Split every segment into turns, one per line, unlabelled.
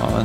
Ja,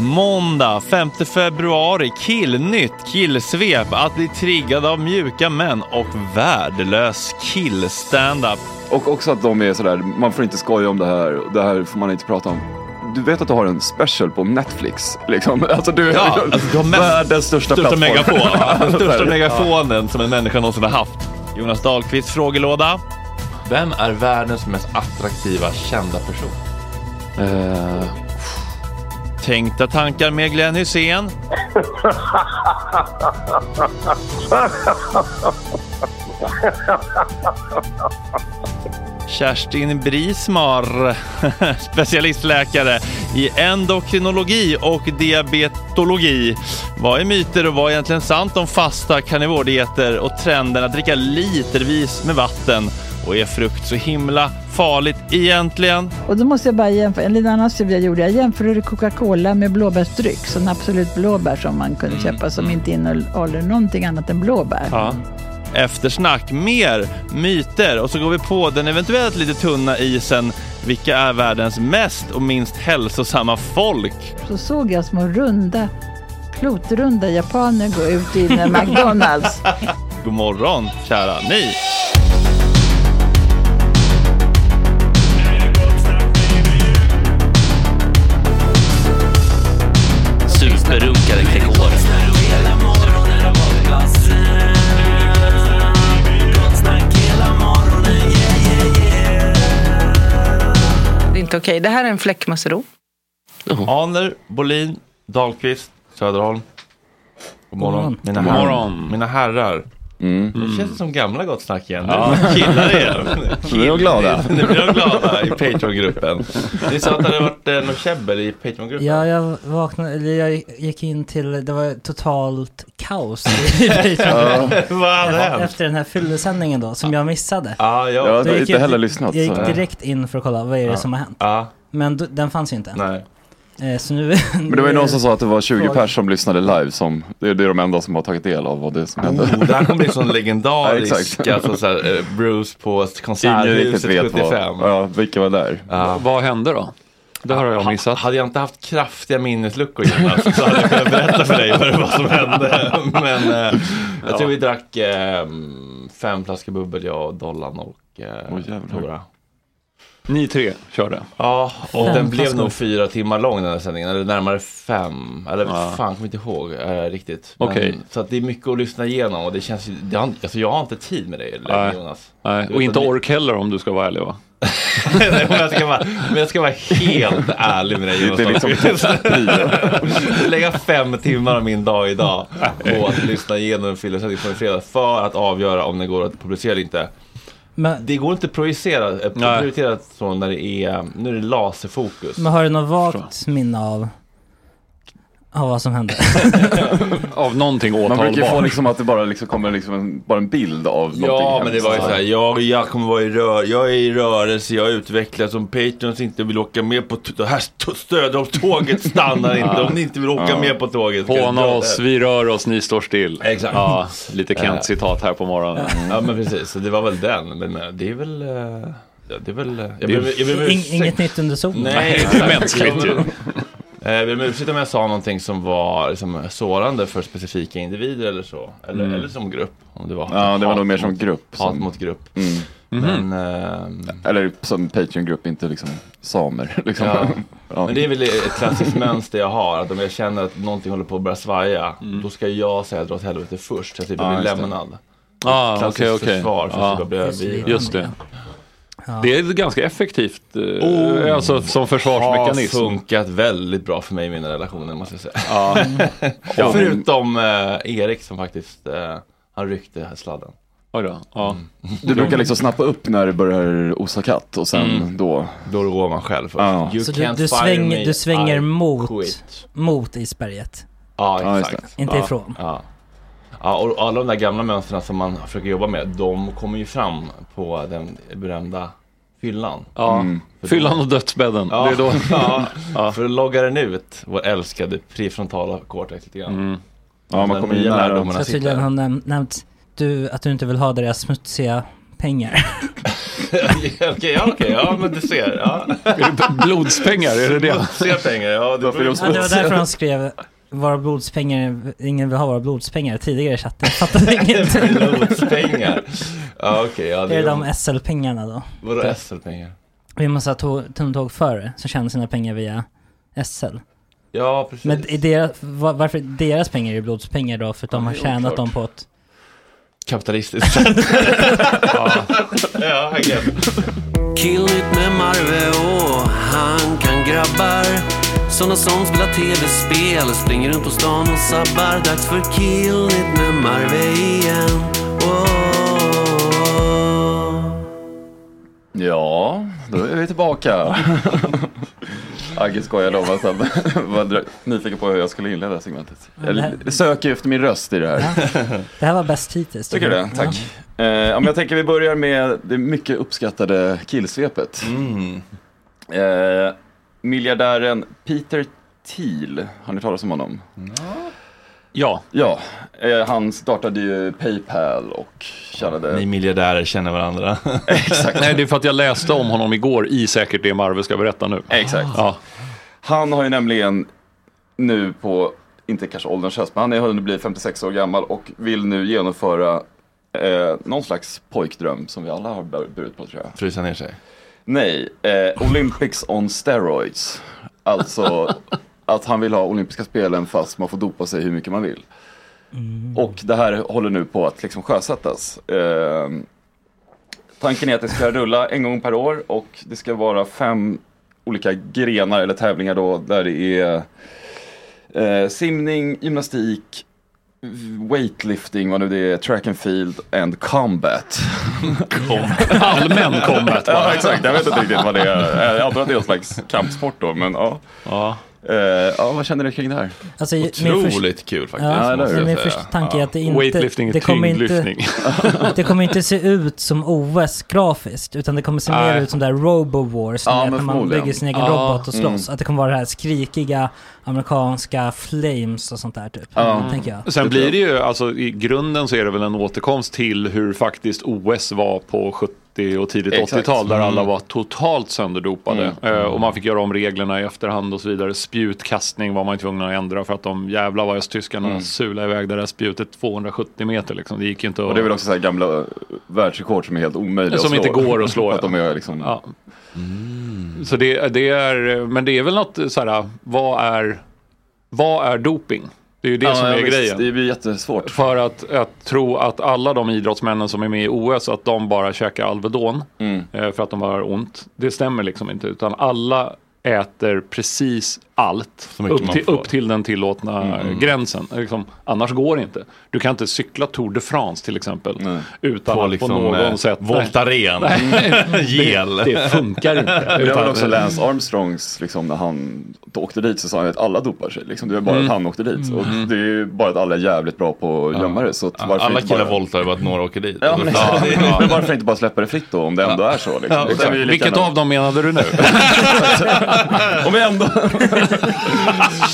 Måndag 5 februari, killnytt, killsvep, att bli triggad av mjuka män och värdelös killstandup.
Och också att de är sådär, man får inte skoja om det här, och det här får man inte prata om. Du vet att du har en special på Netflix? Liksom. Alltså du,
Ja, alltså, du har mest-
världens största,
Största
plattform.
megafon,
Så
största
här.
megafonen som en människa någonsin har haft. Jonas Dahlqvists frågelåda. Vem är världens mest attraktiva kända person?
Eh,
Tänkta tankar med Glenn Hysén. Kerstin Brismar, specialistläkare. i endokrinologi och diabetologi. Vad är myter och vad är egentligen sant om fasta karnivordieter och trenden att dricka litervis med vatten? Och är frukt så himla farligt egentligen?
Och då måste jag bara jämföra, en liten annan studie jag gjorde, jag jämförde Coca-Cola med blåbärsdryck, sån absolut blåbär som man
Mm.
kunde köpa som inte innehåller någonting annat än blåbär.
Ja. Eftersnack, mer myter och så går vi på den eventuellt lite tunna isen. Vilka är världens mest och minst hälsosamma folk?
Så såg jag små runda, klotrunda japaner gå ut i en McDonalds.
God morgon kära ni!
Superrunkare Gregor.
Det är inte okej. Det här är en fläckmussero.
Aner, Bolin, Dahlqvist, Söderholm. God morgon. Mina herrar.
morgon.
Mina herrar.
Mm.
Nu känns det som gamla Gott Snack igen. Nu Killar igen.
Nu är de glada.
Nu blir de glada i Patreon-gruppen. Ni sa att det hade varit eh, något käbbel i Patreon-gruppen.
Ja, jag vaknade, eller jag gick in till, det var totalt kaos i Patreon.
Vad hade
efter,
hänt?
efter den här fyllesändningen då, som jag missade.
Ja,
Jag
ja.
Då
har
gick
inte
jag-
heller lyssnat.
Jag
så-
gick direkt in för att kolla, vad är det som har hänt?
ja.
Men d- den fanns ju inte.
Nej.
Eh, Så nu...
Men det var ju någon som sa att det var 20 pers som lyssnade live som, det är det är de enda som har tagit del av vad det är som hände.
Oh, det här kommer bli sån legendarisk,
Mm. Ja, exakt.
alltså så här, eh, Bruce på
Ingen riktigt
Konserthuset
vet
75.
vad, ja, vilka var där.
Vad hände då? Det har jag
Ha-
missat.
Hade jag inte haft kraftiga minnesluckor Jonas, så hade jag kunnat berätta för dig vad, det var som hände. Men eh, jag tror vi drack eh, fem flaskor bubbel, jag, Dollan och eh,
Åh, jävlar.
Tora.
Ni tre körde.
Ja, och
Fem
den blev
flaskor.
nog fyra timmar lång den här sändningen, eller närmare fem. Eller fan, kommer inte ihåg eh, riktigt. Men-
Okej.
Så att det är mycket att lyssna igenom och det känns ju, det har, alltså jag har inte tid med dig
Nej.
Jonas.
Nej, Eh, och inte ork heller om du ska vara ärlig va?
Nej, men, jag ska vara, men jag ska vara helt ärlig med dig Jonas.
Det är liksom
lägga fem timmar av min dag idag på att lyssna igenom en filmsändning från i fredags för att avgöra om den går att publicera eller inte.
Men,
Det går inte att projicera, eh,
Nej.
prioritera så när det är, nu är det laserfokus.
men har du något vagt minne av, av vad som hände?
Av någonting
Man brukar ju få
åtalbart.
liksom att det bara liksom kommer liksom en, bara en bild av
Ja,
någonting.
men det var ju
hemskt.
såhär, jag, jag kommer vara i rör, jag är i rörelse, jag utvecklas om Patreons inte vill åka med på t- det här st- stödomtåget stannar inte om ni inte vill åka med på tåget. ska
Håna
ni dra
oss,
där.
vi rör oss, ni står still.
Exakt.
Ja, lite Kent-citat här på morgonen.
Ja men precis, så det var väl den. Men eh, det är väl, eh, ja, det är väl, eh, jag ber- jag ber om
In,
ursäkt.
inget nytt under solen?
Nej,
det är mänskligt ju.
Eh, Jag ber om ursäkt om jag sa någonting som var liksom, sårande för specifika individer eller så. Eller, eller som grupp. Om det var
Mm. Ja, det var
hat
nog mer som
mot-
grupp.
Hat
Som,
mot grupp.
mm.
Men, ehm,
Eller som Patreon-grupp, inte liksom samer. Liksom.
Ja.
Ja.
men det är väl ett klassiskt mönster jag har. Att om jag känner att någonting håller på att börja svaja. Då ska jag säga dra åt helvete först. Så att jag typ
Mm. Ja,
blir
just det.
lämnad.
Ah,
Klassiskt
okej, okej.
försvar för att
Ja,
jag blir övergiven.
Just det. Det är ganska effektivt eh,
Oh.
alltså, som
Har
försvarsmekanism.
funkat väldigt bra för mig i mina relationer måste jag säga.
Ja.
Ja, Förutom eh, Erik som faktiskt, eh, han ryckte här sladden.
Oj då. Ja.
Du brukar liksom snappa upp när det börjar osa katt och sen
Mm.
då.
Då går man själv först.
Ja.
You
Så du,
can't fire
du, sväng,
me,
du svänger
I
mot,
quit.
mot isberget,
Ja,
Ja, just
exakt.
inte
ja.
ifrån.
Ja. ja, och alla de där gamla mönstren som man försöker jobba med, de kommer ju fram på den berömda fyllan.
Ja. Mm. Fyllan och dödsbädden. Det är då.
ja. För då loggar den ut vår älskade prefrontala cortex lite grann.
Ja, man kommer ju
Mm. nya
nära.
lärdomarna
Så
sitter.
tydligen har näm- nämnt du, att du inte vill ha deras smutsiga pengar.
Okej, ja, okej, ja men du ser. Ja.
Är det blodspengar, är det det?
Se pengar, ja. Det
Varför är de
Ja, det var därför de skrev våra blodspengar, ingen vill ha våra blodspengar tidigare i chatten. Jag fattade inget.
Blodspengar. Ja, okej. ja,
Det
det
är de SL-pengarna då.
Vadå SL-pengar?
Vi måste ha to- tunneltågförare som tjänar sina pengar via SL.
Ja, precis.
Men är deras, va- varför deras pengar är blodspengar då? För att de har
det är
tjänat
oklart.
dem på ett...
kapitalistiskt sätt. ja, ja,
Killigt med Marve och han kan grabbar. Såna som spelar tv-spel, springer runt på stan och sabbar. Dags för killigt med Marve igen. Oh.
Ja, då är vi tillbaka. Agge skojade om att han var nyfiken på hur jag skulle inleda segmentet. Jag söker efter min röst i det här.
Det här var bäst hittills.
Tycker du det? Tack. Eh, ja, men jag tänker vi börjar med det mycket uppskattade killsvepet. Eh, miljardären Peter Thiel, har ni talat om honom?
Ja.
Ja, eh, han startade ju Paypal och tjänade...
Ni miljardärer känner varandra.
Exakt.
Nej, det är för att jag läste om honom igår i säkert det Marve ska berätta nu.
Exakt. Han har ju nämligen nu på, inte kanske ålderns höst, men han är hunnit bli 56 år gammal och vill nu genomföra eh, någon slags pojkdröm som vi alla har bur- burit på tror jag.
Frysa ner sig.
Nej, eh, Olympics on steroids. Alltså att han vill ha olympiska spelen fast man får dopa sig hur mycket man vill. Och det här håller nu på att liksom sjösättas. Eh, tanken är att det ska rulla en gång per år och det ska vara fem olika grenar eller tävlingar då där det är eh, simning, gymnastik, weightlifting, vad nu det är, track and field and combat.
Allmän combat bara.
Ja, exakt. Jag vet inte riktigt vad det är. Jag antar att det är någon slags kampsport då, men ja.
Ja.
Eh, ja, vad känner ni kring det här?
Alltså, i- min
Otroligt kul faktiskt.
Ja,
måste
så
jag
min
säga.
första tanke är att det inte...
Weightlifting är
det kommer inte,
tyngdlyftning.
det kommer inte se ut som OS grafiskt, utan det kommer se mer
Nej.
ut som det här Robo-Wars,
Ja,
ni vet,
men
när man
förmodligen.
bygger sin egen
Ja,
robot och
mm.
slåss. Att det kommer vara det här skrikiga amerikanska flames och sånt där typ,
Ja.
tänker jag.
Sen blir det ju, alltså i grunden så är det väl en återkomst till hur faktiskt OS var på 70 och tidigt
Exakt. Mm.
80-tal där alla var totalt sönderdopade. Eh, Och man fick göra om reglerna i efterhand och så vidare. Spjutkastning var man ju tvungen att ändra för att de jävla vad östtyskarna
Mm.
sulade iväg det där spjutet 270 meter liksom. Det gick ju inte att...
Och det är väl också så här gamla eh, världsrekord som är helt omöjliga
Som
att slå.
inte går att slå,
För att de är liksom,
Ja. Så det, det är, men det är väl något så här, vad är, vad är doping? Det är ju det
Ja,
som
ja,
är
visst.
grejen.
Det blir jättesvårt.
För att, att tro att alla de idrottsmännen som är med i OS, att de bara käkar Alvedon
Mm.
eh, för att de har ont. Det stämmer liksom inte, utan alla äter precis allt
mycket
upp
man
till,
får.
upp till den tillåtna
Mm,
gränsen. Liksom, annars går det inte. Du kan inte cykla Tour de France till exempel utan
På
att
liksom,
på någon
eh,
sätt...
Voltaren. Gel.
Det funkar inte.
Det var väl
Utan-
också Lance Armstrongs, liksom, när han åkte dit så sa han att alla dopar sig. Liksom. Det är bara att han åkte dit. Och det är ju bara att alla är jävligt bra på att gömma det. Så att varför
Alla
inte bara...
killar voltar ju bara att några åker dit.
Ja, men,
Ja, det- ja.
men varför inte bara släppa det fritt då om det ändå är så? Liksom.
Ja,
Det kan
exakt.
vi ju lika
Vilket
gärna-
av dem menade du nu?
Om vi ändå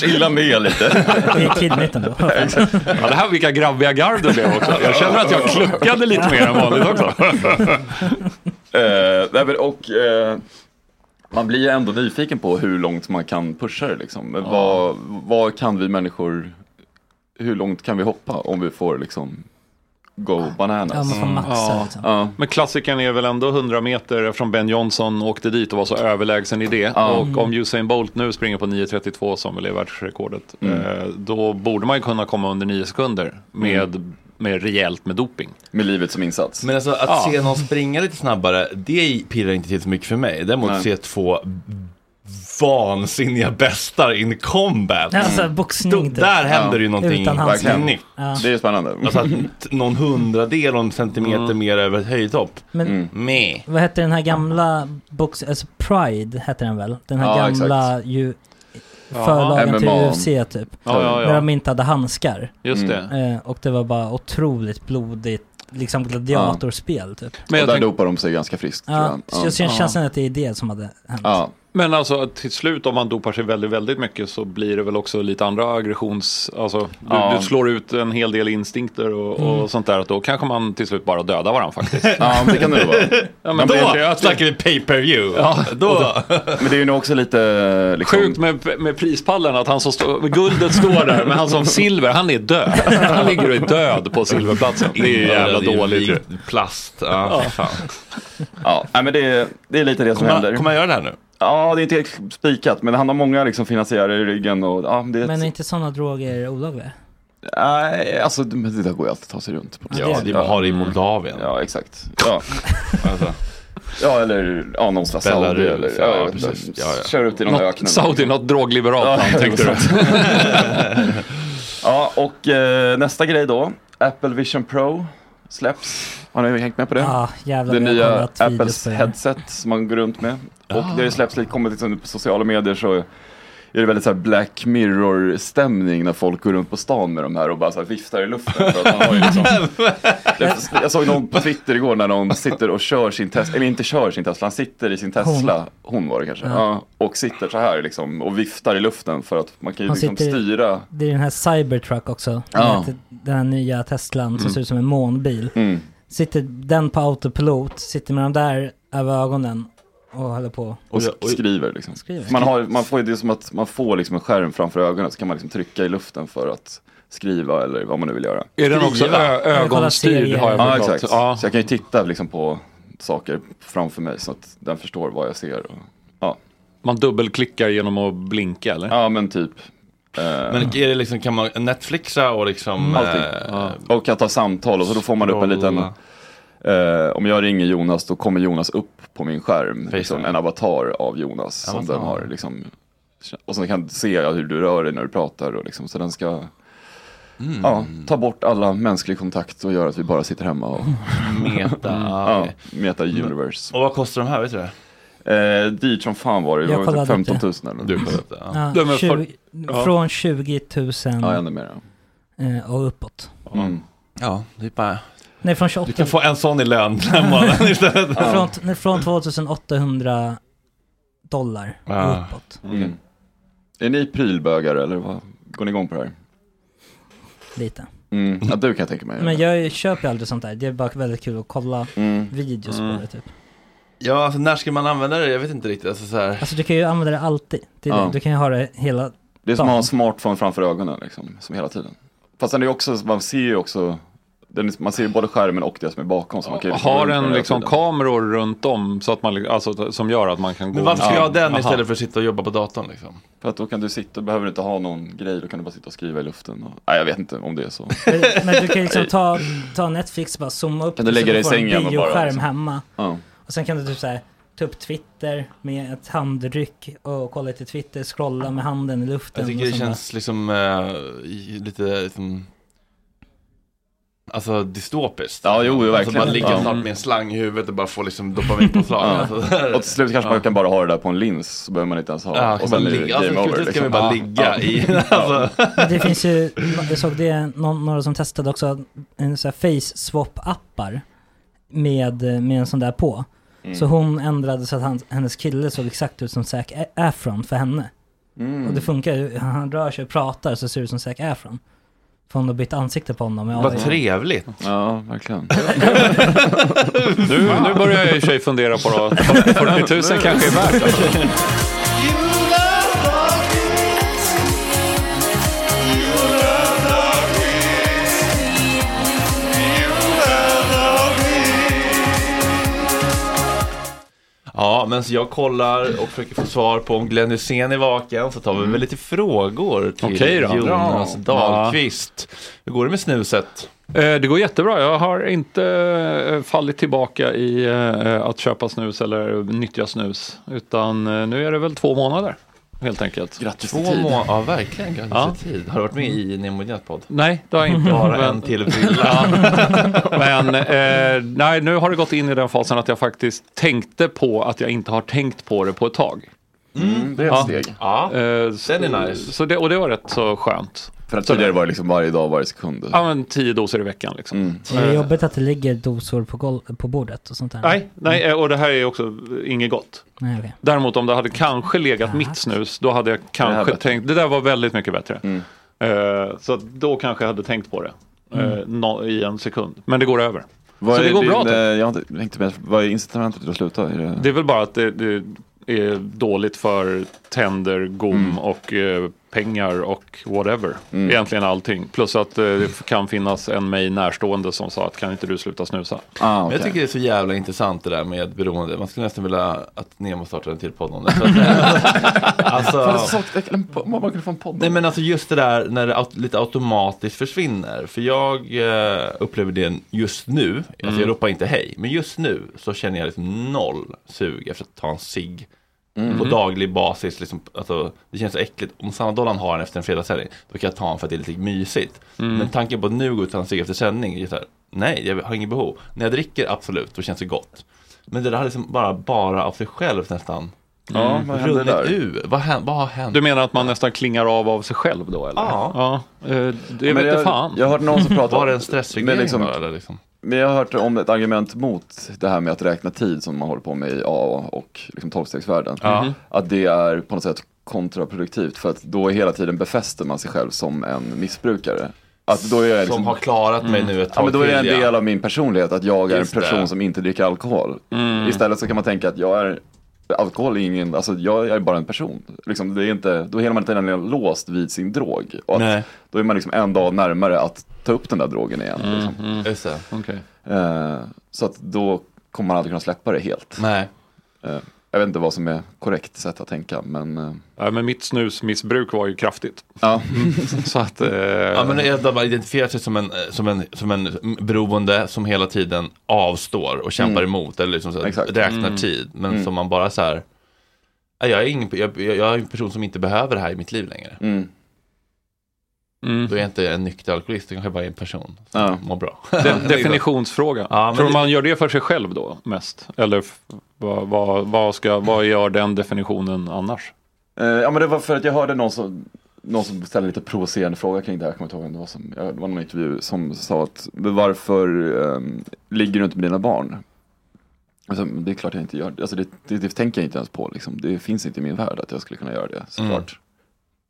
chillar med lite.
Det är kidnigt ändå.
Ja, det här vilka grabbiga garv det blev också. Jag känner att jag kluckade lite mer än vanligt också.
Eh, nej, men, och, eh, man blir ju ändå nyfiken på hur långt man kan pusha det. Liksom. Vad, vad kan vi människor, hur långt kan vi hoppa om vi får liksom go
Ja, man
bananas?
får maxa liksom.
Mm. Ja.
Men klassikern är väl ändå 100 meter eftersom Ben Johnson åkte dit och var så överlägsen i det. Och om Usain Bolt nu springer på 9.32 som väl är världsrekordet. eh, Då borde man ju kunna komma under 9 sekunder med, med rejält med doping.
Med livet som insats.
Men alltså att se någon springa lite snabbare, det pirrar inte till så mycket för mig. Däremot
Nej.
se två vansinniga bästar in combat.
Alltså boxning
Stod,
typ.
där händer ju någonting
Utan handskar.
verkligen nytt.
Det är ju spännande.
Alltså att t- någon hundradel och en centimeter mer över ett höjdhopp.
Men
Meh.
vad hette den här gamla box... Alltså Pride hette den väl? Den här
Ja,
gamla ju... Förlagen till
MMA.
UFC typ.
Ja, ja,
När
ja.
de inte hade handskar.
Just det.
Eh, och det var bara otroligt blodigt, liksom gladiatorspel typ.
Men
och
jag
där
tänk-
dopar de sig ganska friskt. tror
Ja,
jag.
så jag ser känslan att det är det som hade hänt.
Ja.
Men alltså att till slut om man dopar sig väldigt, väldigt mycket så blir det väl också lite andra aggressions... Alltså du,
Ja.
du slår ut en hel del instinkter och, och sånt där. Att då kanske man till slut bara dödar varandra faktiskt.
Ja, men det kan det vara.
Ja,
Men
men
då
det är inte- jag-
snackar vi pay per view. Ja, då.
Men det är ju nog också lite... Liksom,
Sjukt med, med prispallen att han som står, guldet står där men han som silver, han är död. Han ligger och är död på silverplatsen. Det är ju jävla
Det är
dåligt. ju.
likt Plast. Ja, för fan.
Ja, nej, men det, är- det är lite det som
Kommer han-
händer.
kommer han göra det här nu?
Ja, det är inte helt spikat, men han har många liksom, finansiärer i ryggen. Och, ja, det är
Men är
ett,
inte sådana droger olagliga?
nej, alltså, men det där går ju alltid att ta sig runt. På.
det
Ja,
är
det är bara har det i Moldavien.
Ja, exakt. Ja. ja, eller ja, någon slags
Belarus,
Saudi. Eller, ja,
ja,
jag vet inte.
precis. Ja, ja.
Kör ut i någon öken.
Något, Saudi, något drogliberalt
Ja,
land tänkte du.
Ja, och eh, nästa grej då. Apple Vision Pro släpps. Har ni hängt med på det?
Ja, Ah, jävlar,
det
vi har
nya
kollat videos
Apples
på det.
headset som man går runt med. Och
Ah.
det släpps lite, kommer liksom på sociala medier så är det väldigt så här Black Mirror-stämning när folk går runt på stan med de här och bara så här viftar i luften. För att man har ju liksom, jag, jag såg någon på Twitter igår när någon sitter och kör sin Tesla, eller inte kör sin Tesla, han sitter i sin Tesla, hon, var det kanske,
Ja.
ja. och sitter så här liksom och viftar i luften för att man kan ju
Han
liksom
sitter i-
styra
Det är den här Cybertruck också. Den,
Ja.
här, den här nya Teslan som
Mm.
ser ut som en månbil.
Mm.
Sitter den på autopilot, sitter med de där över ögonen och håller på.
Och sk- skriver liksom.
Skriver.
Man, har, man får ju det är som att man får liksom en skärm framför ögonen så kan man liksom trycka i luften för att skriva eller vad man nu vill göra.
Är den också
Skriva.
ö- ögonstyrd har jag
Ja,
förstått.
exakt.
Ja.
Så jag kan ju titta liksom på saker framför mig så att den förstår vad jag ser. Och, ja.
Man dubbelklickar genom att blinka eller?
Ja, men typ.
Men är det liksom, kan man Netflixa och liksom...
Allting. Eh, Och att ta samtal och så då får man upp en liten eh, om jag ringer Jonas då kommer Jonas upp på min skärm. Liksom, en avatar av Jonas som
Avatar.
den har liksom. Och sen kan du se hur du rör dig när du pratar och liksom, så den ska
Mm.
ja, ta bort alla mänsklig kontakt och göra att vi bara sitter hemma och
Meta.
ja, meta
Mm.
universe.
Och vad kostar de här, vet du det?
Eh, dyrt som fan var det, det
Jag
var
kollade
typ 15 000
upp
eller något.
Du kollade upp det,
Ja, 20, Från 20 000
Ja, ännu mer.
eh, och uppåt.
Mm.
Ja, det är bara...
Nej, från 28
Du kan få en sån i lön den här månaden istället.
från, nej, från 2800 dollar och
Ah.
uppåt.
Mm. Är ni prylbögar eller vad? Går ni igång på det här?
Lite.
Mm. Ja, du kan jag tänka mig.
Men jag köper ju aldrig sånt där. Det är bara väldigt kul att kolla
Mm.
videos på
Mm.
det typ.
Ja, alltså, när ska man använda det? Jag vet inte riktigt. Alltså, så här.
Alltså du kan ju använda det alltid. Det är
Ja.
det. Du kan ju ha det hela
Det är som
dagen.
att ha en smartphone framför ögonen liksom, som hela tiden. Fast den är ju också, man ser ju också, den, är- man ser ju både skärmen och det som är bakom. Så man kan ju liksom gå
Har
runt med
den
hela
liksom
tiden.
kameror runt om så att man, li- alltså, som gör att man kan gå...
Men varför ska
Ja.
jag ha den
Aha.
istället för att sitta och jobba på datorn? Liksom?
För att då kan du sitta, behöver du inte ha någon grej, då kan du bara sitta och skriva i luften. Och, nej, jag vet inte om det är så.
Men- Men du kan ju liksom ta, ta Netflix och bara zooma upp
Kan du
det så
lägga dig i
får en
sängen och bara,
bioskärm
liksom?
hemma.
Ja.
Och sen kan du typ så här, ta upp Twitter med ett handryck och kolla lite Twitter, scrolla med handen i luften.
Jag tycker
och
det
sånt
känns liksom eh, i- lite... Liksom, Alltså dystopiskt.
Ja, jo, jo, verkligen.
Alltså, bara ligga
Ja.
snart med en slang i huvudet och bara få liksom dopaminpåslag.
Ja.
alltså, så här.
Och till slut kanske man kan bara ha det där på en lins, så behöver man inte ens ha.
Ja,
och
kan bara
är det
ligga. Alltså,
game
till
over, liksom.
slut ska vi bara ligga i- alltså.
där. Men det finns ju, jag såg det, någon, några som testade också, en sån här face swap appar med, med en sån där på.
Mm.
Så hon ändrade så att han, hennes kille såg exakt ut som Zac Efron för henne.
Mm.
Och det funkar ju, han rör sig och pratar så ser det ut som Zac Efron. För hon har bytt ansikte på honom. med
Vad
AI.
trevligt.
Ja, verkligen.
Nu, nu börjar jag i och för sig fundera på då. 40 000 kanske är värt alltså.
Ja, men så jag kollar och försöker få svar på om Glenn Hysén är vaken. Så tar vi väl lite frågor till
Mm. Okej då.
Jonas
Bra.
Dahlqvist. Hur går det med snuset?
Eh, Det går jättebra. Jag har inte eh, fallit tillbaka i eh, att köpa snus eller nyttja snus. Utan eh, nu är det väl två månader helt enkelt.
Grattis
Två månader, ja verkligen. Grattis
Ja.
till tid. Har du varit med i Nemo Dinas podd?
Nej, det har jag inte.
Bara
Men-
en till brilla.
Ja. Men eh, nej, nu har det gått in i den fasen att jag faktiskt tänkte på att jag inte har tänkt på det på ett tag.
Mm, det är ett steg.
Eh,
Ja,
den
är nice.
Så det, och det var rätt så skönt.
För att tidigare var det liksom varje dag, varje sekund.
Ja, men tio doser i veckan liksom.
Mm.
Det är jobbigt att det ligger dosor på, golv, på bordet och sånt där.
Nej, nej, eh, och det här är också eh, inget gott.
Nej, okej.
Däremot om det hade kanske legat mitt snus, då hade jag kanske
bättre.
tänkt, det där var väldigt mycket bättre.
Mm.
Eh, så att då kanske jag hade tänkt på det eh, nå- i en sekund. Men det går över.
Vad
så
är
det går
din,
bra.
typ.
eh,
tack.
Jag har inte hängt med, vad är incitamentet till att sluta? Är det...
Det är väl bara att det, det är dåligt för tänder, gom och eh, pengar och whatever.
Mm.
Egentligen allting. Plus att eh, det kan finnas en mig närstående som sa att kan inte du sluta snusa?
Ah,
Men
okej.
Jag tycker det är så jävla intressant det där med beroende. Man skulle nästan vilja att Nemo startade en till podd om det. Så att-
Fan, det är
alltså,
så sagt, jag kan- Man bara kunde få en podd.
Nej men alltså just det där när det aut- lite automatiskt försvinner. För jag eh, upplever det just nu,
Mm.
alltså jag ropar inte hej, men just nu så känner jag liksom noll sug efter att ta en cigg
Mm.
på
Mhm.
daglig basis. Liksom, alltså, det känns så äckligt. Om Sanna Dollan har en efter en fredagshelg, då kan jag ta en för att det är lite mysigt.
Mm.
Men tanken på att nu gå ut och ta en cigg efter sändning, det är så här, nej, jag har inget behov. När jag dricker, absolut, då känns det gott. Men det där har liksom bara, bara av sig själv nästan
Ja, vad hände
Mm. runnit
där?
ur. Vad, hän- vad har hänt?
Du menar att man nästan klingar av av sig själv då eller?
Ja.
ja. Eh, Det
Men
vet
jag-
jag, fan.
jag har hört någon som pratar
Var det
om-
en stressreglering
men liksom-
bara, eller liksom?
Men jag har hört om ett argument mot det här med att räkna tid som man håller på med i AA och liksom tolvstegsvärlden.
Ja.
Att det är på något sätt kontraproduktivt för att då hela tiden befäster man sig själv som en missbrukare. Att då är jag liksom,
Som har klarat mig nu ett
ja,
tag
men då är det en
till, ja.
del av min personlighet att jag är
Just
en person
det.
som inte dricker alkohol.
Mm.
Istället så kan man tänka att jag är Alkohol är ingen, alltså jag är bara en person. Liksom, det är inte, då är hela man inte den låst vid sin drog. Och
Nej.
att, då är man liksom en dag närmare att ta upp den där drogen igen.
Mm,
Liksom.
Just det.
Okej.
Eh, så att då kommer man aldrig kunna släppa det helt.
Nej.
Eh, jag vet inte vad som är korrekt sätt att tänka, men eh,
Ja, men mitt snusmissbruk var ju kraftigt.
ja.
Så att... Eh,
Ja, men det- de har identifierat sig som en, eh, som, en, som en beroende som hela tiden avstår och kämpar
Mm.
emot. Eller liksom så här,
Exakt.
räknar
Mm.
tid. Men
Mm.
som man bara så här. "Nej, Jag är, ingen, jag, jag jag är en person som inte behöver det här i mitt liv längre.
Mm.
mm.
Då är jag inte en nykter alkoholist, jag kanske bara är en person som
Ja.
mår bra.
De, definitionsfråga.
Ja, men
Tror
det-
du man gör det för sig själv då mest? Eller f- vad, vad, vad, ska, vad gör den definitionen annars?
Eh, ja, men det var för att jag hörde någon som, någon som ställde lite provocerande fråga kring det här, jag kommer inte ihåg vem det var, som, ja, det var någon intervju som sa att "Men varför ehm, ligger du inte med dina barn? Alltså, det är klart jag inte gör det, alltså, det, det, det tänker jag inte ens på, liksom. det finns inte i min värld att jag skulle kunna göra det, såklart.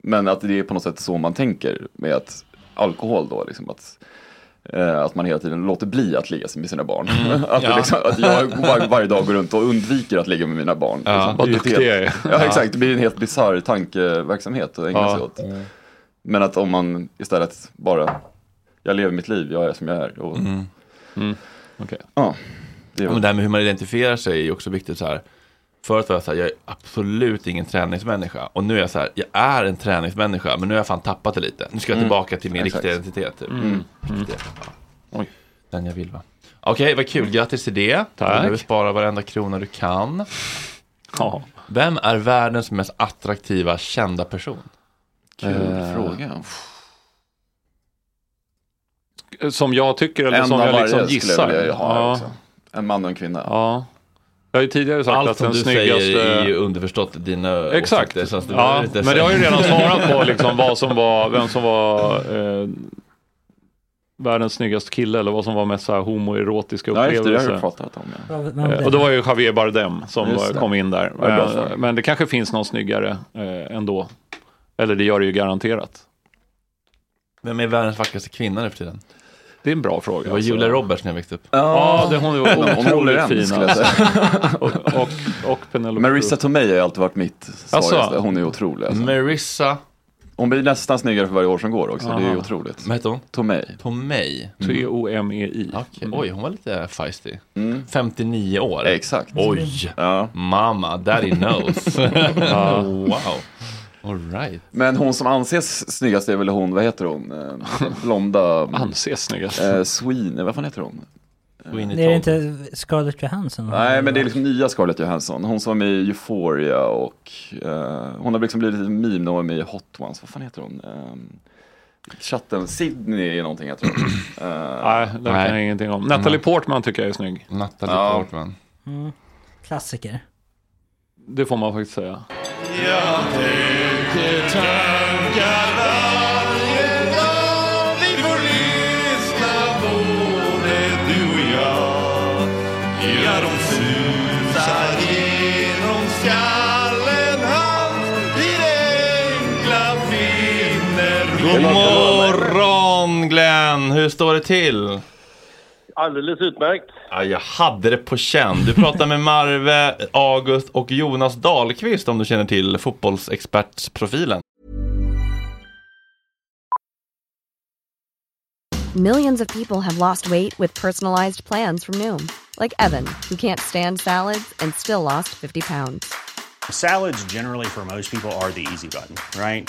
Men att det är på något sätt så man tänker med att alkohol då, liksom, att eh, att man hela tiden låter bli att ligga med sina barn. att, det
ja.
liksom, att jag var, varje dag går runt och undviker att ligga med mina barn.
Ja,
liksom.
Vad
Det är ju
duktig
helt-
jag är.
Ja, exakt. Det blir en helt bisarr tankeverksamhet att ägna
Ja.
sig åt. Men att om man istället bara, jag lever mitt liv, jag är som jag är. Och,
Okej.
ja, det är
Ja, men
väl,
det här med hur man identifierar sig är ju också viktigt. Så här. Förut var jag så här, jag är absolut ingen träningsmänniska. Och nu är jag så här, jag är en träningsmänniska, men nu har jag fan tappat det lite. Nu ska
Mm.
jag tillbaka till min
Exakt.
riktiga identitet. Typ. Riktiga. Ja.
Oj.
Den jag vill va. Okej, vad kul. Grattis till det.
Tack.
Du sparar varenda krona du kan.
Ja.
Vem är världens mest attraktiva kända person?
kul
Eh,
fråga.
Som jag tycker eller
En
som
av
jag
varje
liksom
skulle jag
gissar.
vilja ha liksom. här
ja.
också. En man och en kvinna.
ja. Jag har ju tidigare sagt
Allt
att
som
den
du
snyggaste...
säger är ju underförstått dina
Exakt.
åsikter. så att du behöver
Ja,
inte
men
säga-
det har ju redan svarat på liksom vad som var, vem som var eh, världens snyggaste kille eller vad som var mest så här homoerotiska
Ja, just det, det har jag
upplevelser.
pratat om. Ja.
Eh, och då var ju Javier Bardem som
Just
var-
det.
kom in där.
Ja, det är bra
Eh,
svar.
Men det kanske finns någon snyggare eh, ändå. Eller det gör det ju garanterat.
Vem är världens vackraste kvinna nu för tiden?
Det är en bra fråga. alltså.
Det var Julia Roberts när jag växte upp.
Ja, det, hon var
Om hon håller
otroligt
än,
fin.
skulle jag
alltså.
säga.
Och, och, och Penelope
Marissa Tomei har ju alltid varit mitt svagaste.
Alltså.
Hon är otrolig. Alltså.
Marissa,
Hon blir nästan snyggare för varje år som går också. Det är ju
Aha.
otroligt.
vad heter hon? Mm.
Tomei.
På mig.
Cruz. T-O-M-E-I.
Okej, Oj, hon var lite feisty.
Mm.
59 år.
Exakt.
Oj,
Ja.
mamma, daddy knows.
Ja.
wow. All right.
Men hon som anses snyggast är väl hon, vad heter hon? Eh, Blonda
Anses snyggast.
eh, Sweeney, vad fan heter hon?
Sweeney
Det är det
Todd.
inte Scarlett Johansson?
Nej men det är liksom nya Scarlett Johansson, hon som var med i Euphoria och eh, hon har liksom blivit lite meme när hon var med i Hot Ones, vad fan heter hon? Eh, chatten, Sydney är någonting jag tror. Eh,
Nej, det kan
Nej.
jag ingenting om.
Mm.
Natalie Portman tycker jag är snygg.
Natalie
Ja.
Portman.
Mm. Klassiker.
Det får man faktiskt säga.
God morgon Glenn, hur står det till?
Alldeles utmärkt.
Ja, jag hade det på känn. Du pratar med Marve, August och Jonas Dahlqvist om du känner till fotbollsexpertsprofilen.
Millions of people have lost weight with personalized plans from Noom, like Evan, who can't stand salads and still lost 50 pounds.
Salads, generally, for most people, are the easy button, right?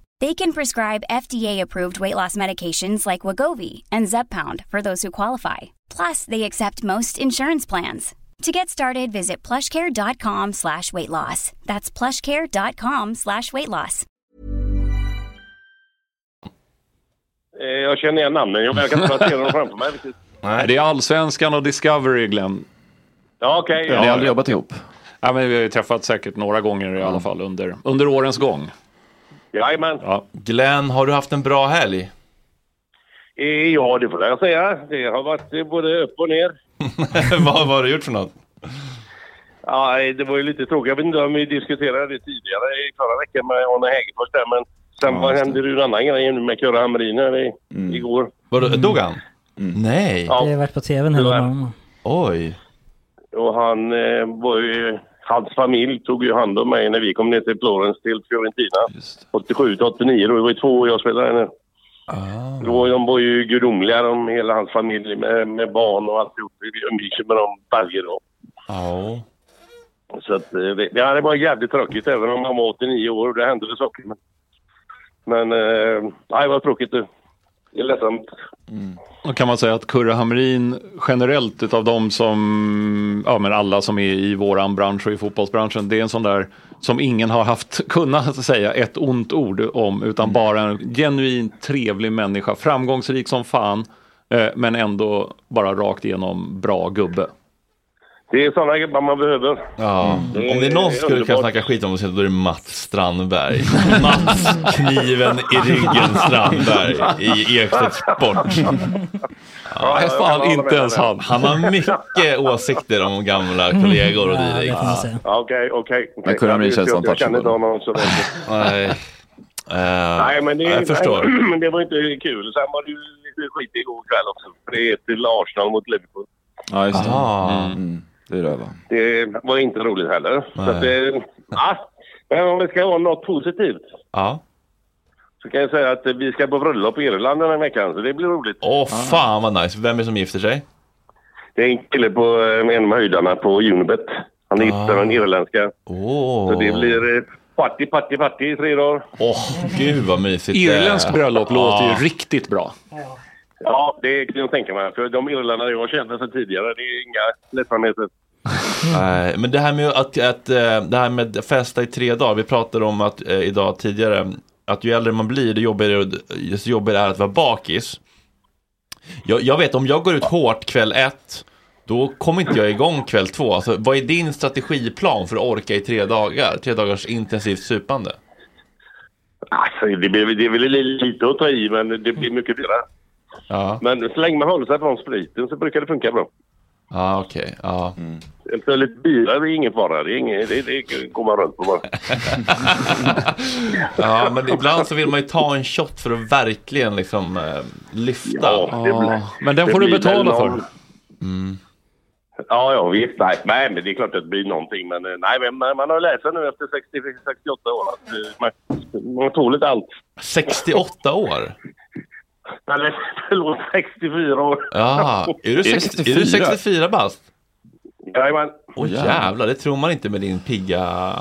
They can prescribe FDA-approved weight loss medications like Wagovi and Zepbound for those who qualify. Plus, they accept most insurance plans. To get started, visit plushcare.com slash weight loss. That's plushcare.com slash weight loss.
Eh, Jag känner igen namnen. Jag kan inte placera dem framför mig riktigt.
Nej, det är Allsvenskan och Discovery, Glenn.
Ja, okej.
Ni har
ja.
aldrig jobbat ihop? Ja, men vi har ju träffat säkert några gånger i alla fall under, under årens gång.
Jajamän.
Glenn, har du haft en bra helg?
Eh, Ja, det får jag säga. Det har varit eh, både upp och ner.
vad, vad har du gjort för något?
Ja, eh, det var ju lite tråkigt. Jag vet inte om vi diskuterade det tidigare i förra veckan med Arne Hägerfors där, men sen
Ja,
vad
just
hände det ju en annan grej nu med Kurre Hamrin här i,
Mm.
igår.
Vadå, dog han? Nej.
Mm. Ja.
Det har varit på tvn hela morgonen.
Oj.
Och han eh, var ju... Hans familj tog ju hand om mig när vi kom ner till Florens till Fiorentina. 87 till 89 då. Det var ju två år jag spelade där nu. Då, de var ju gudomliga, de, hela hans familj med, med barn och alltihop. Vi umgicks ju med dem varje dag.
Ja.
Så att, eh, det, ja, det var jävligt tråkigt även om han var 89 år och det hände väl saker. Men, men eh, nej, vad tråkigt du. Det är ledsamt.
Då Mm. kan man säga att Kurre Hamrin generellt utav de som, ja men alla som är i våran bransch och i fotbollsbranschen, det är en sån där som ingen har haft, kunnat säga ett ont ord om, utan
Mm.
bara en genuint trevlig människa, framgångsrik som fan, eh, men ändå bara rakt igenom bra gubbe.
Det är sådana gubbar man behöver.
Ja.
Mm.
Om det är någon som skulle kunna
Underbart.
snacka skit om oss då är det Mats Strandberg. Mats kniven i ryggen Strandberg i Ekstedt Sport.
Ja,
Nej,
jag kan hålla med där.
Han har mycket åsikter om gamla kollegor och dylikt.
Ja, Okej, okej.
Men Kurre Hamrin
Jag-
känns
jag- Jag
untouchable.
känner inte honom så väl.
Nej. Eh,
Nej, men det,
jag förstår.
Nej, men det var inte kul. Sen var det ju lite skit igår kväll också. För det är till Arsenal mot Liverpool.
Ja, just det.
Aha.
Mm, mm. Det är röva.
Det var inte roligt heller. Så
Nej.
att det, ja. Men om det ska vara något positivt
Ja.
så kan jag säga att vi ska på bröllop i Irland den här veckan. Så det blir roligt.
Åh, fan vad nice. Vem är det som gifter sig?
Det är en kille på eh, en av höjdarna på Unibet. Han är gift med en irländska.
Ah. Åh.
Så det blir eh, party, party, party i tre dagar.
Åh, gud vad mysigt. det är.
Irländsk bröllop låter
Ja.
ju riktigt bra.
Ja, det kan jag tänka mig. För de irländare jag känner sedan tidigare, det är inga lättsamheter.
Nej, men det här med att, att eh, det här med att festa i tre dagar, vi pratade om att eh, idag tidigare, att ju äldre man blir, det jobbigare, desto jobbigare är det att vara bakis. Jag, jag vet, om jag går ut hårt kväll ett, då kommer inte jag igång kväll två. Alltså, vad är din strategiplan för att orka i tre dagar? Tre dagars intensivt supande?
Alltså, det, blir, det är väl lite att ta i, men det blir mycket dyrare.
Ja,
Men så länge man håller sig från spriten så brukar det funka bra.
ja Ah, okej. Ja.
Så lite bira det är ingen fara. Det, är ingen, det, det går man runt på bara.
ja, men ibland så vill man ju ta en shot för att verkligen liksom eh, lyfta.
Ja, det blir-
Men den
det
får du
blir väl
betala för. Mm.
någon- Ja, ja visst. Nej, nej, men det är klart att det blir någonting. Men eh, nej, men man, man har lärt sig nu efter 60-68 år att eh, man, man tål inte allt.
68 år?
Eller förlåt, 64 år.
Ja, är du, sex, är du 64 bast?
Jajamän.
Åh jävlar, det tror man inte med din pigga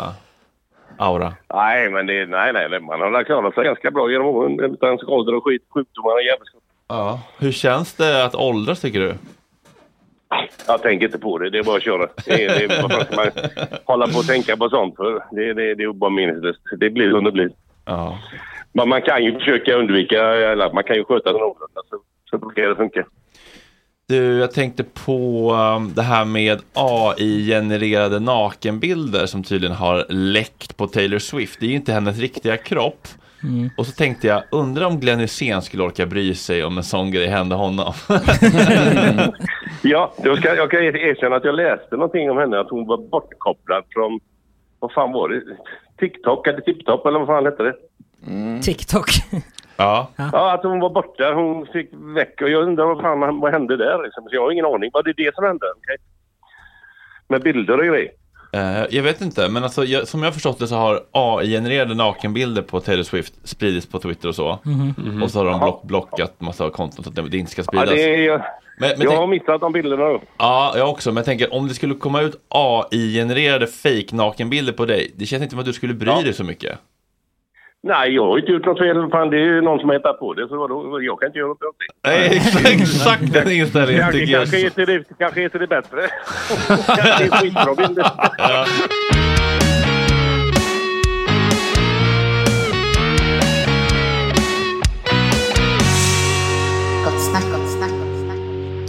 aura.
Nej, men det, nej, nej, nej, man har väl klarat sig ganska bra genom åren utan skador och skit, sjukdomar och jävligt.
Ja. Hur känns det att åldras tycker du?
Jag tänker inte på det, det är bara att köra. Det, är- det, är- varför ska man hålla på och tänka på sånt för? Det, det, det är bara meningslöst. Det blir som det blir.
Ja.
Men Alltså, man kan ju försöka undvika, eller man kan ju sköta det någorlunda så, så brukar det funka.
Du, jag tänkte på um, det här med AI-genererade nakenbilder som tydligen har läckt på Taylor Swift. Det är ju inte hennes riktiga kropp.
Mm.
Och så tänkte jag, undrar om Glenn Hysén skulle orka bry sig om en sån grej hände honom.
Ja, då ska, jag kan erkänna att jag läste någonting om henne, att hon var bortkopplad från, vad fan var det? TikTok eller TipTop eller vad fan hette det?
TikTok.
Ja.
Ja, att hon var borta. Hon fick väck och jag undrar vad fan vad hände där liksom. Så jag har ingen aning. Var det det som hände? Okej. Med bilder och grejer.
Eh, jag vet inte, men alltså, jag, som jag har förstått det så har AI-genererade nakenbilder på Taylor Swift spridits på Twitter och så.
Mhm.
Och så har de block blockat massa konton så att det inte ska
Ja,
spridas.
det är,
Men- men
jag
tänk-
har missat de bilderna då.
Ja, jag också. Men jag tänker om det skulle komma ut AI-genererade fake nakenbilder på dig. Det känns inte som att du skulle bry dig så mycket.
Nej, jag har inte gjort något fel. Fan, det är ju någon som har hittat på det. Så vadå? jag kan inte göra något åt det.
Nej, exakt, exakt den inställningen
Kanske,
tycker jag.
kanske, heter det, kanske heter det bättre. kanske är skitbra bilder.
Gott snack, gott snack.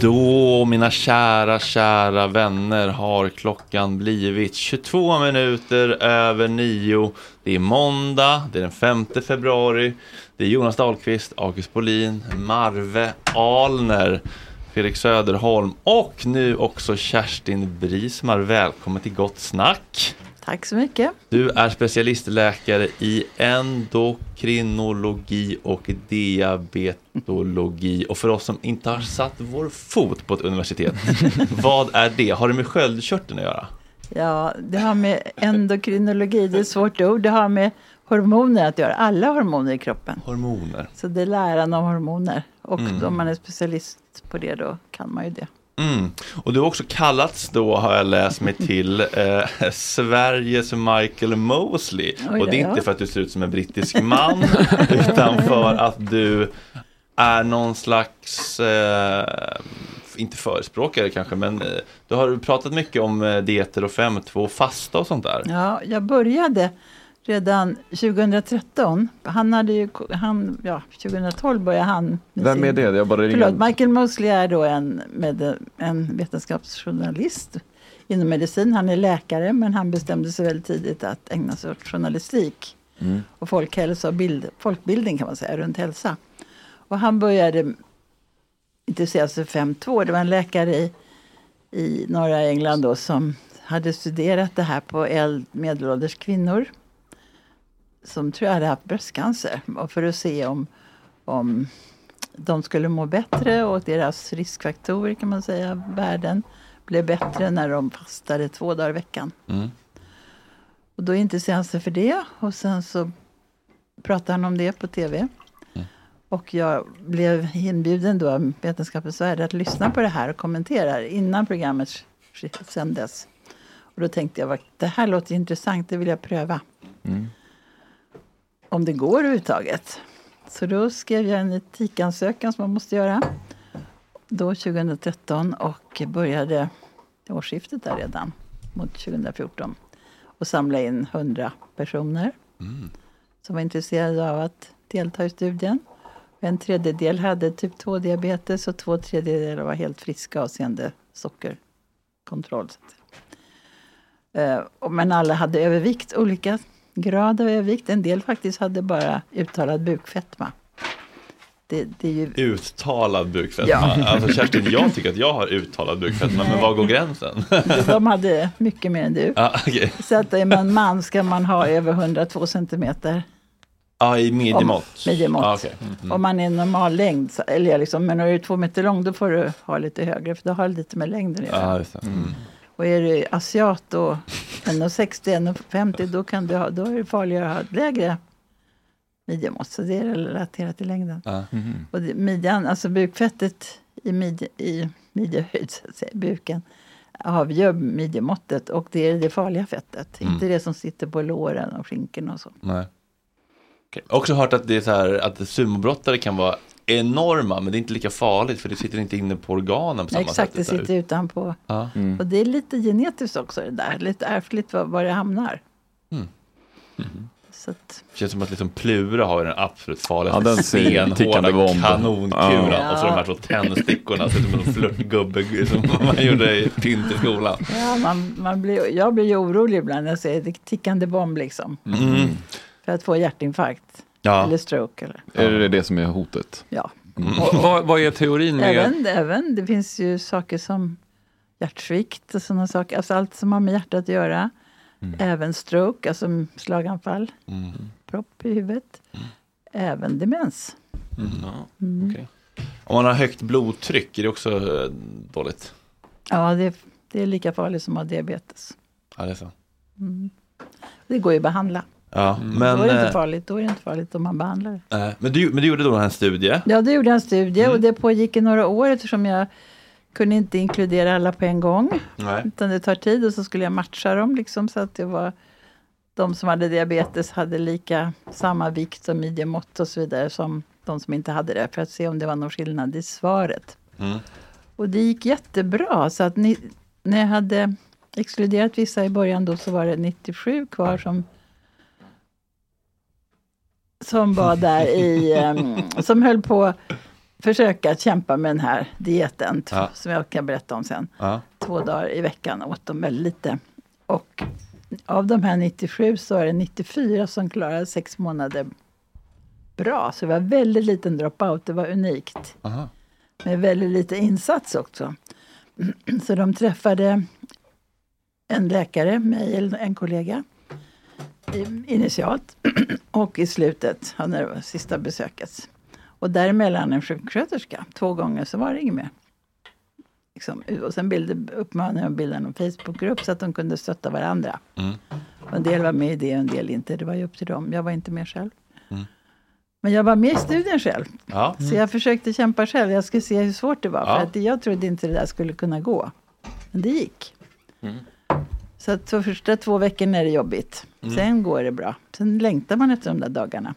Då, mina kära, kära vänner, har klockan blivit 22 minuter över 9. Det är måndag, det är den 5 februari. Det är Jonas Dahlqvist, August Bolin, Marve Alner, Fredrik Söderholm och nu också Kerstin Brismar. Välkommen till Gott Snack!
Tack så mycket.
Du är specialistläkare i endokrinologi och diabetologi. Och för oss som inte har satt vår fot på ett universitet, vad är det? Har det med sköldkörteln att göra?
Ja, det har med endokrinologi, det är ett svårt ord, det har med hormoner att göra. Alla hormoner i kroppen.
Hormoner.
Så det är läran om hormoner. Och
Mm.
om man är specialist på det då kan man ju det.
Mm. Och du har också kallats då, har jag läst mig till, eh, Sveriges Michael Mosley.
Oj
och det är
då.
inte för att du ser ut som en brittisk man, utan för att du är någon slags, eh, inte förespråkare kanske, men eh, du har pratat mycket om eh, dieter och 5-2 och fasta och sånt där.
Ja, jag började redan 2013. Han hade ju, han, ja, 2012 började han. med
Vem är
sin-
det? Jag bara ringer.
Förlåt, Michael Mosley är då en, med, en vetenskapsjournalist inom medicin. Han är läkare, men han bestämde sig väldigt tidigt att ägna sig åt journalistik
Mm.
och folkhälsa och bild, folkbildning kan man säga, runt hälsa. Och han började intressera sig för 5.2. Det var en läkare i, i norra England då som hade studerat det här på äldre medelålders kvinnor som tror jag hade haft bröstcancer och för att se om, om de skulle må bättre och deras riskfaktorer kan man säga, värden, blev bättre när de fastade två dagar i veckan.
Mm.
Och då intresserade han sig för det och sen så pratade han om det på tv. Och jag blev inbjuden då av Vetenskapens Värld att lyssna på det här och kommentera innan programmet sk- sändes. Och då tänkte jag, "Vad- det här låter intressant, det vill jag pröva. Om det går överhuvudtaget. Så då skrev jag en etikansökan som man måste göra. Då 2013 och började årsskiftet där redan mot 2014 och samla in 100 personer som var intresserade av att delta i studien. En tredjedel hade typ 2-diabetes och två tredjedelar var helt friska avseende sockerkontroll. så att säga. Eh, och- Men alla hade övervikt, olika grad av övervikt. En del faktiskt hade bara uttalad bukfetma. Det, det är ju
Uttalad bukfetma.
Ja.
Alltså Kerstin, jag tycker att jag har uttalad bukfetma, men var går gränsen?
De hade mycket mer än du.
Ja, okej.
Så att är man man ska man ha över 102 centimeter.
Ja, Ah, i midjemått.
Om- midjemått.
Ja, okej. Mm, mm.
Om man är normal längd, så- eller ja, liksom, men är du två meter lång då får du ha lite högre, för då har det lite med längden att göra.
Ja, just det. Mm.
Och är du asiat och 1,60, 1,50 då, kan du ha, då är det farligare att ha ett lägre midjemått. Så det är relaterat till längden.
Ja. Mhm.
Och det, midjan, alltså bukfettet i, midje, i midjehöjd, så att säga, buken, avgör midjemåttet och det är det farliga fettet.
Mm.
Inte det som sitter på låren och skinkorna och så.
Nej. Jag har också hört att det är så här att sumobrottare kan vara enorma men det är inte lika farligt för det sitter inte inne på organen på samma
Exakt, det
sätt.
sitter utanpå.
Ja.
Och det är
Mm.
lite genetiskt också det där, lite ärftligt var, var det hamnar. Så att,
Det känns som att liksom Plura har ju den absolut farligaste
Ja, den ser ju tickande
stenhårda
bomb.
kanonkulan
Ja.
och så de här två tändstickorna ser ut som en flörtgubbe som man gjorde i Tinterskolan.
ja, man, man blir, jag blir ju orolig ibland när jag ser det tickande bomb liksom.
Mm.
För att få hjärtinfarkt.
Ja.
Eller stroke. Eller.
Är det det som är hotet?
Ja.
Mm.
Vad, vad är teorin med...
Även, även, det finns ju saker som hjärtsvikt och sådana saker. Alltså allt som har med hjärtat att göra. Även stroke, alltså slaganfall. Propp i huvudet. Även demens. Mm.
Om man har högt blodtryck är det också eh, dåligt.
Ja, det, det är lika farligt som att ha diabetes.
Ja, det är så.
Mm. Det går ju att behandla.
Ja,
Mm.
men,
då, är det inte
eh,
farligt, då är det inte farligt om man behandlar det.
eh, men, du, men du gjorde då en studie.
Ja, det gjorde jag en studie och det pågick i några år eftersom jag kunde inte inkludera alla på en gång.
Nej.
Utan det tar tid och så skulle jag matcha dem liksom så att det var de som hade diabetes hade lika samma vikt och midjemått och så vidare som de som inte hade det för att se om det var någon skillnad i svaret. Och det gick jättebra så att ni, när jag hade exkluderat vissa i början då så var det 97 kvar som som var där i, em, som höll på att försöka kämpa med den här dieten, t-
Ja.
som jag kan berätta om sen.
Ja.
Två dagar i veckan åt de väldigt lite. Och av de här 97 så är det 94 som klarade sex månader bra. Så det var väldigt liten dropout, det var unikt.
Aha.
Med väldigt lite insats också. Så de träffade en läkare, mig eller en kollega i- initialt och i slutet, ja, när det var sista besöket. Och däremellan en sjuksköterska, två gånger så var det inget mer. Liksom, och sen bildade, uppmanade jag att bilda en Facebookgrupp så att de kunde stötta varandra.
Mm.
Och en del var med i det och en del inte, det var ju upp till dem. Jag var inte med själv.
Mm.
Men jag var med i studien själv.
Ja.
Så jag försökte kämpa själv. Jag skulle se hur svårt det var.
Ja.
För att jag trodde inte det där skulle kunna gå. Men det gick.
Mm.
Så att de första två veckorna är det jobbigt.
Mm.
Sen går det bra. Sen längtar man efter de där dagarna.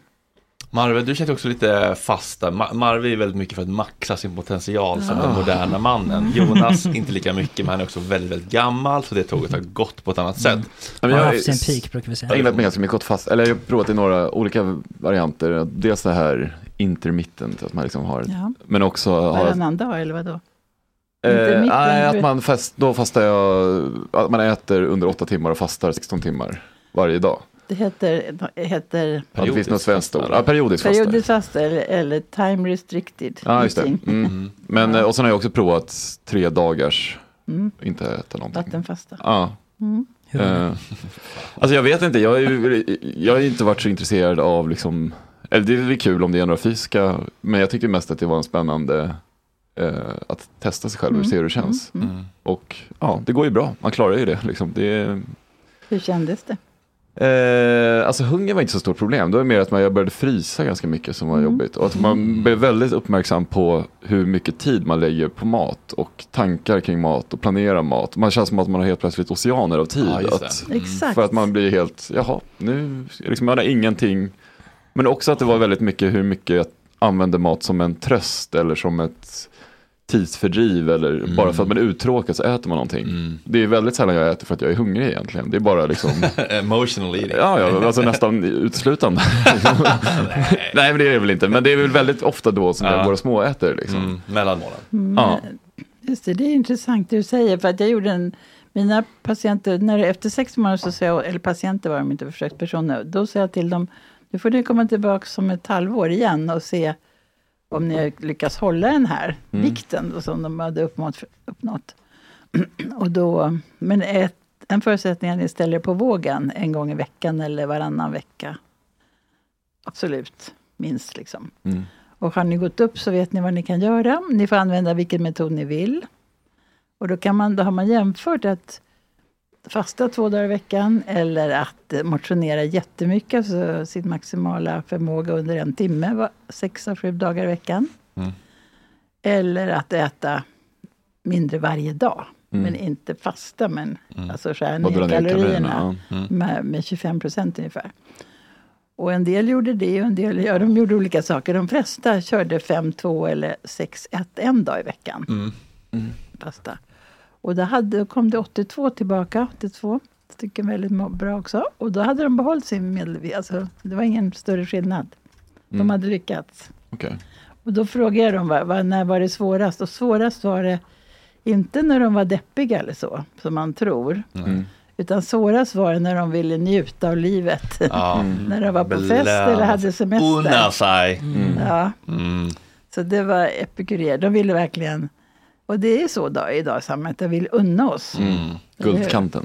Marve, du känner också lite fasta. Ma- Marve är väldigt mycket för att maxa sin potential som den
Ah.
moderna mannen. Jonas, inte lika mycket, men han är också väldigt, väldigt gammal, så det tåget har gått på ett annat
Mm.
sätt.
Ja, men
har
jag-
haft sin peak brukar vi
Jag har
säga.
ägnat mig ganska mycket åt fast, eller jag har provat i några olika varianter. Dels det här intermittent, att man liksom har,
Ja.
men också har ett
Varannan dag eller vadå?
Eh,
mitten,
nej,
för-
att man fast, då fastar jag, att man äter under 8 timmar och fastar 16 timmar varje dag.
Det heter, det heter
Ja, det finns något svenskt ord. Ja, periodisk fasta.
periodisk fasta eller, eller time restricted.
Ja, just det.
eating.
Mm. Men, eh, och sen har jag också provat tre dagars,
Mm.
inte äta någonting.
Vattenfasta.
Ja.
Mm.
Eh, alltså jag vet inte, jag har, ju, jag har ju inte varit så intresserad av liksom, eller det är väl kul om det är några fysiska, men jag tyckte mest att det var en spännande eh, att testa sig själv och
Mm,
se hur det känns.
mm,
Och ja, det går ju bra, man klarar ju det. Liksom. det är,
Hur kändes det?
Eh, alltså hunger var inte så stort problem. Det var mer att man, jag började frysa ganska mycket som var
Mm.
jobbigt. Och att man blev väldigt uppmärksam på hur mycket tid man lägger på mat och tankar kring mat och planera mat. Man känns som att man har helt plötsligt oceaner av tid.
Ja, just det.
att,
Mm. Exakt.
För att man blir helt, jaha, nu, liksom, man har ingenting. Men också att det var väldigt mycket hur mycket jag använde mat som en tröst eller som ett tidsfördriv eller bara
Mm.
för att man är uttråkad så äter man någonting. Det är väldigt sällan jag äter för att jag är hungrig egentligen. Det är bara liksom
Emotional eating.
Ja, ja, alltså nästan uteslutande. Nej. men det är det väl inte. Men det är väl väldigt ofta då som
Ja.
våra små äter. Liksom.
Mm, mellanmålen.
Mm.
Ja.
Just det, det är intressant det du säger. För att jag gjorde en, mina patienter, när det, efter sex månader, så sa jag, eller patienter var de inte, försökspersoner, då sa jag till dem, nu får ni komma tillbaka om ett halvår igen och se om ni lyckas hålla den här
Mm.
vikten då, som de hade uppnått. uppnått. och då, men ett, en förutsättning är att ni ställer er på vågen en gång i veckan eller varannan vecka. Absolut, minst liksom. Och har ni gått upp så vet ni vad ni kan göra. Ni får använda vilken metod ni vill. Och då, kan man, då har man jämfört att fasta två dagar i veckan eller att eh, motionera jättemycket, alltså sin maximala förmåga under en timme, va- sex av sju dagar i veckan.
Mm.
Eller att äta mindre varje dag.
Mm.
Men inte fasta, men
Mm.
alltså skära
Bara dra
ner
ner
kalorierna
kalorierna, ja. Mm.
med, med 25 procent ungefär. Och en del gjorde det och en del, ja de gjorde olika saker. De flesta körde 5-2 eller 6-1 en dag i veckan.
Mm.
Fasta. Och då hade, kom det 82 tillbaka, 82. Jag tycker väldigt mo- bra också. Och då hade de behållit sin medelvikt. Alltså, det var ingen större skillnad. De
Mm.
hade lyckats.
Okej.
Och då frågade jag dem, vad, vad, när var det svårast? Och svårast var det inte när de var deppiga eller så, som man tror. Utan svårast var det när de ville njuta av livet.
Ja. Mm.
när de var på fest eller hade semester.
Unna sig.
Ja.
Mm.
Så det var epikurer. De ville verkligen... Och det är så då, idag i samhället, de vill unna oss.
Mm.
Eller hur?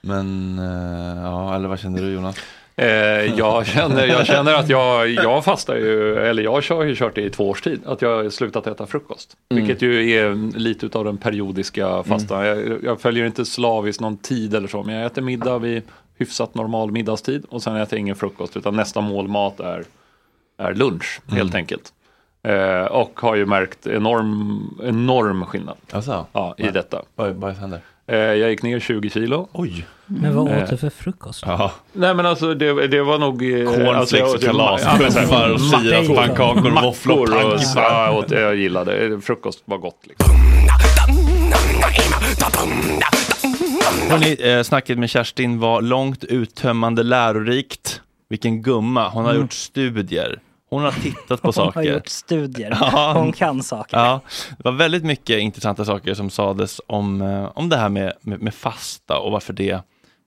Men, eh, ja, eller vad kände du Jonas?
Eh, jag, känner, jag känner att jag, jag fastar ju, eller jag har ju kört det i två års tid, att jag har slutat äta frukost.
Mm.
Vilket ju är lite utav den periodiska fastan. Jag, jag följer inte slaviskt någon tid eller så, men jag äter middag vid hyfsat normal middagstid och sen äter jag ingen frukost utan nästa mål mat är, är lunch helt enkelt. Eh, och har ju märkt enorm, enorm skillnad ja, i
Va-
detta.
Vad, vad händer?
Eh, jag gick ner 20 kilo.
Oj.
Men vad åt
Eh,
du för frukost?
Ja.
Nej men alltså det, det var nog... eh,
Cornflakes
jag-
och kalas,
ja, men så här,
puffar och
mackor,
sirapspannkakor,
mackor
våfflor och
och
pannkakor.
så- ja, jag, åt, jag gillade det. Frukost var gott. Liksom.
Hörrni, eh, snacket med Kerstin var långt uttömmande lärorikt. Vilken gumma, hon har
Mm.
gjort studier. Hon har tittat på
Hon
saker.
har gjort studier.
Ja.
Hon kan saker.
Ja, det var väldigt mycket intressanta saker som sades om, eh, om det här med, med, med fasta och varför det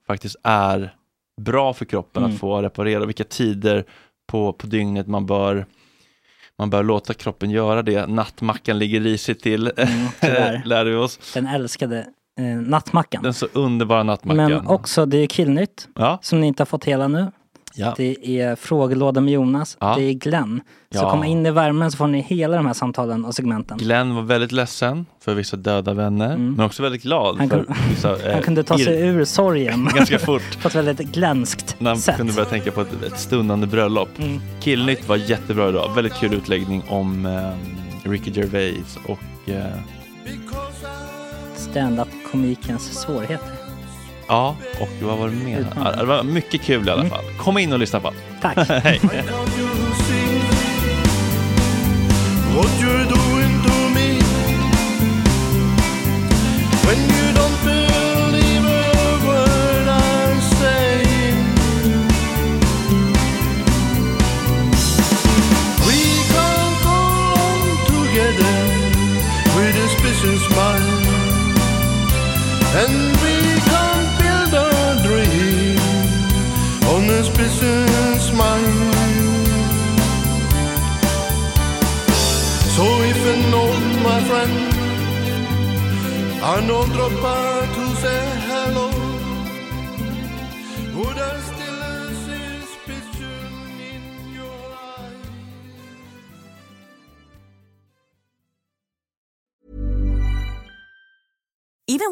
faktiskt är bra för kroppen
Mm.
att få reparera och vilka tider på, på dygnet man bör, man bör låta kroppen göra det. Nattmackan ligger risigt till,
Mm, tyvärr.
lär vi oss.
Den älskade eh, nattmackan.
Den så underbara nattmackan.
Men också, det är killnytt som ni inte har fått hela nu.
Ja.
Det är frågelåda med Jonas.
Ja.
Det är Glenn. Så
Ja.
kom in i värmen så får ni hela de här samtalen och segmenten.
Glenn var väldigt ledsen för vissa döda vänner, men också väldigt glad
Mm. Han
för
kunde-
vissa eh,
Han kunde ta sig
ir-
ur sorgen.
Ganska fort.
på ett väldigt glänst
När man
sätt.
kunde börja tänka på ett, ett stundande bröllop.
Mm.
Killnytt var jättebra idag. Väldigt kul utläggning om eh, Ricky Gervais och eh,
Stand-up-komikens svårigheter.
ja, och vad var det mer? Ja, Det var mycket kul i
Mm.
alla fall. Kom in och lyssna på.
Tack.
Hej.
What you're doing to me When you don't believe a word I say We can go on together With a special smile And we can build our dream On a special smile So if an old my friend An old dropper to say hello Would I still see suspicion in your eyes?
Even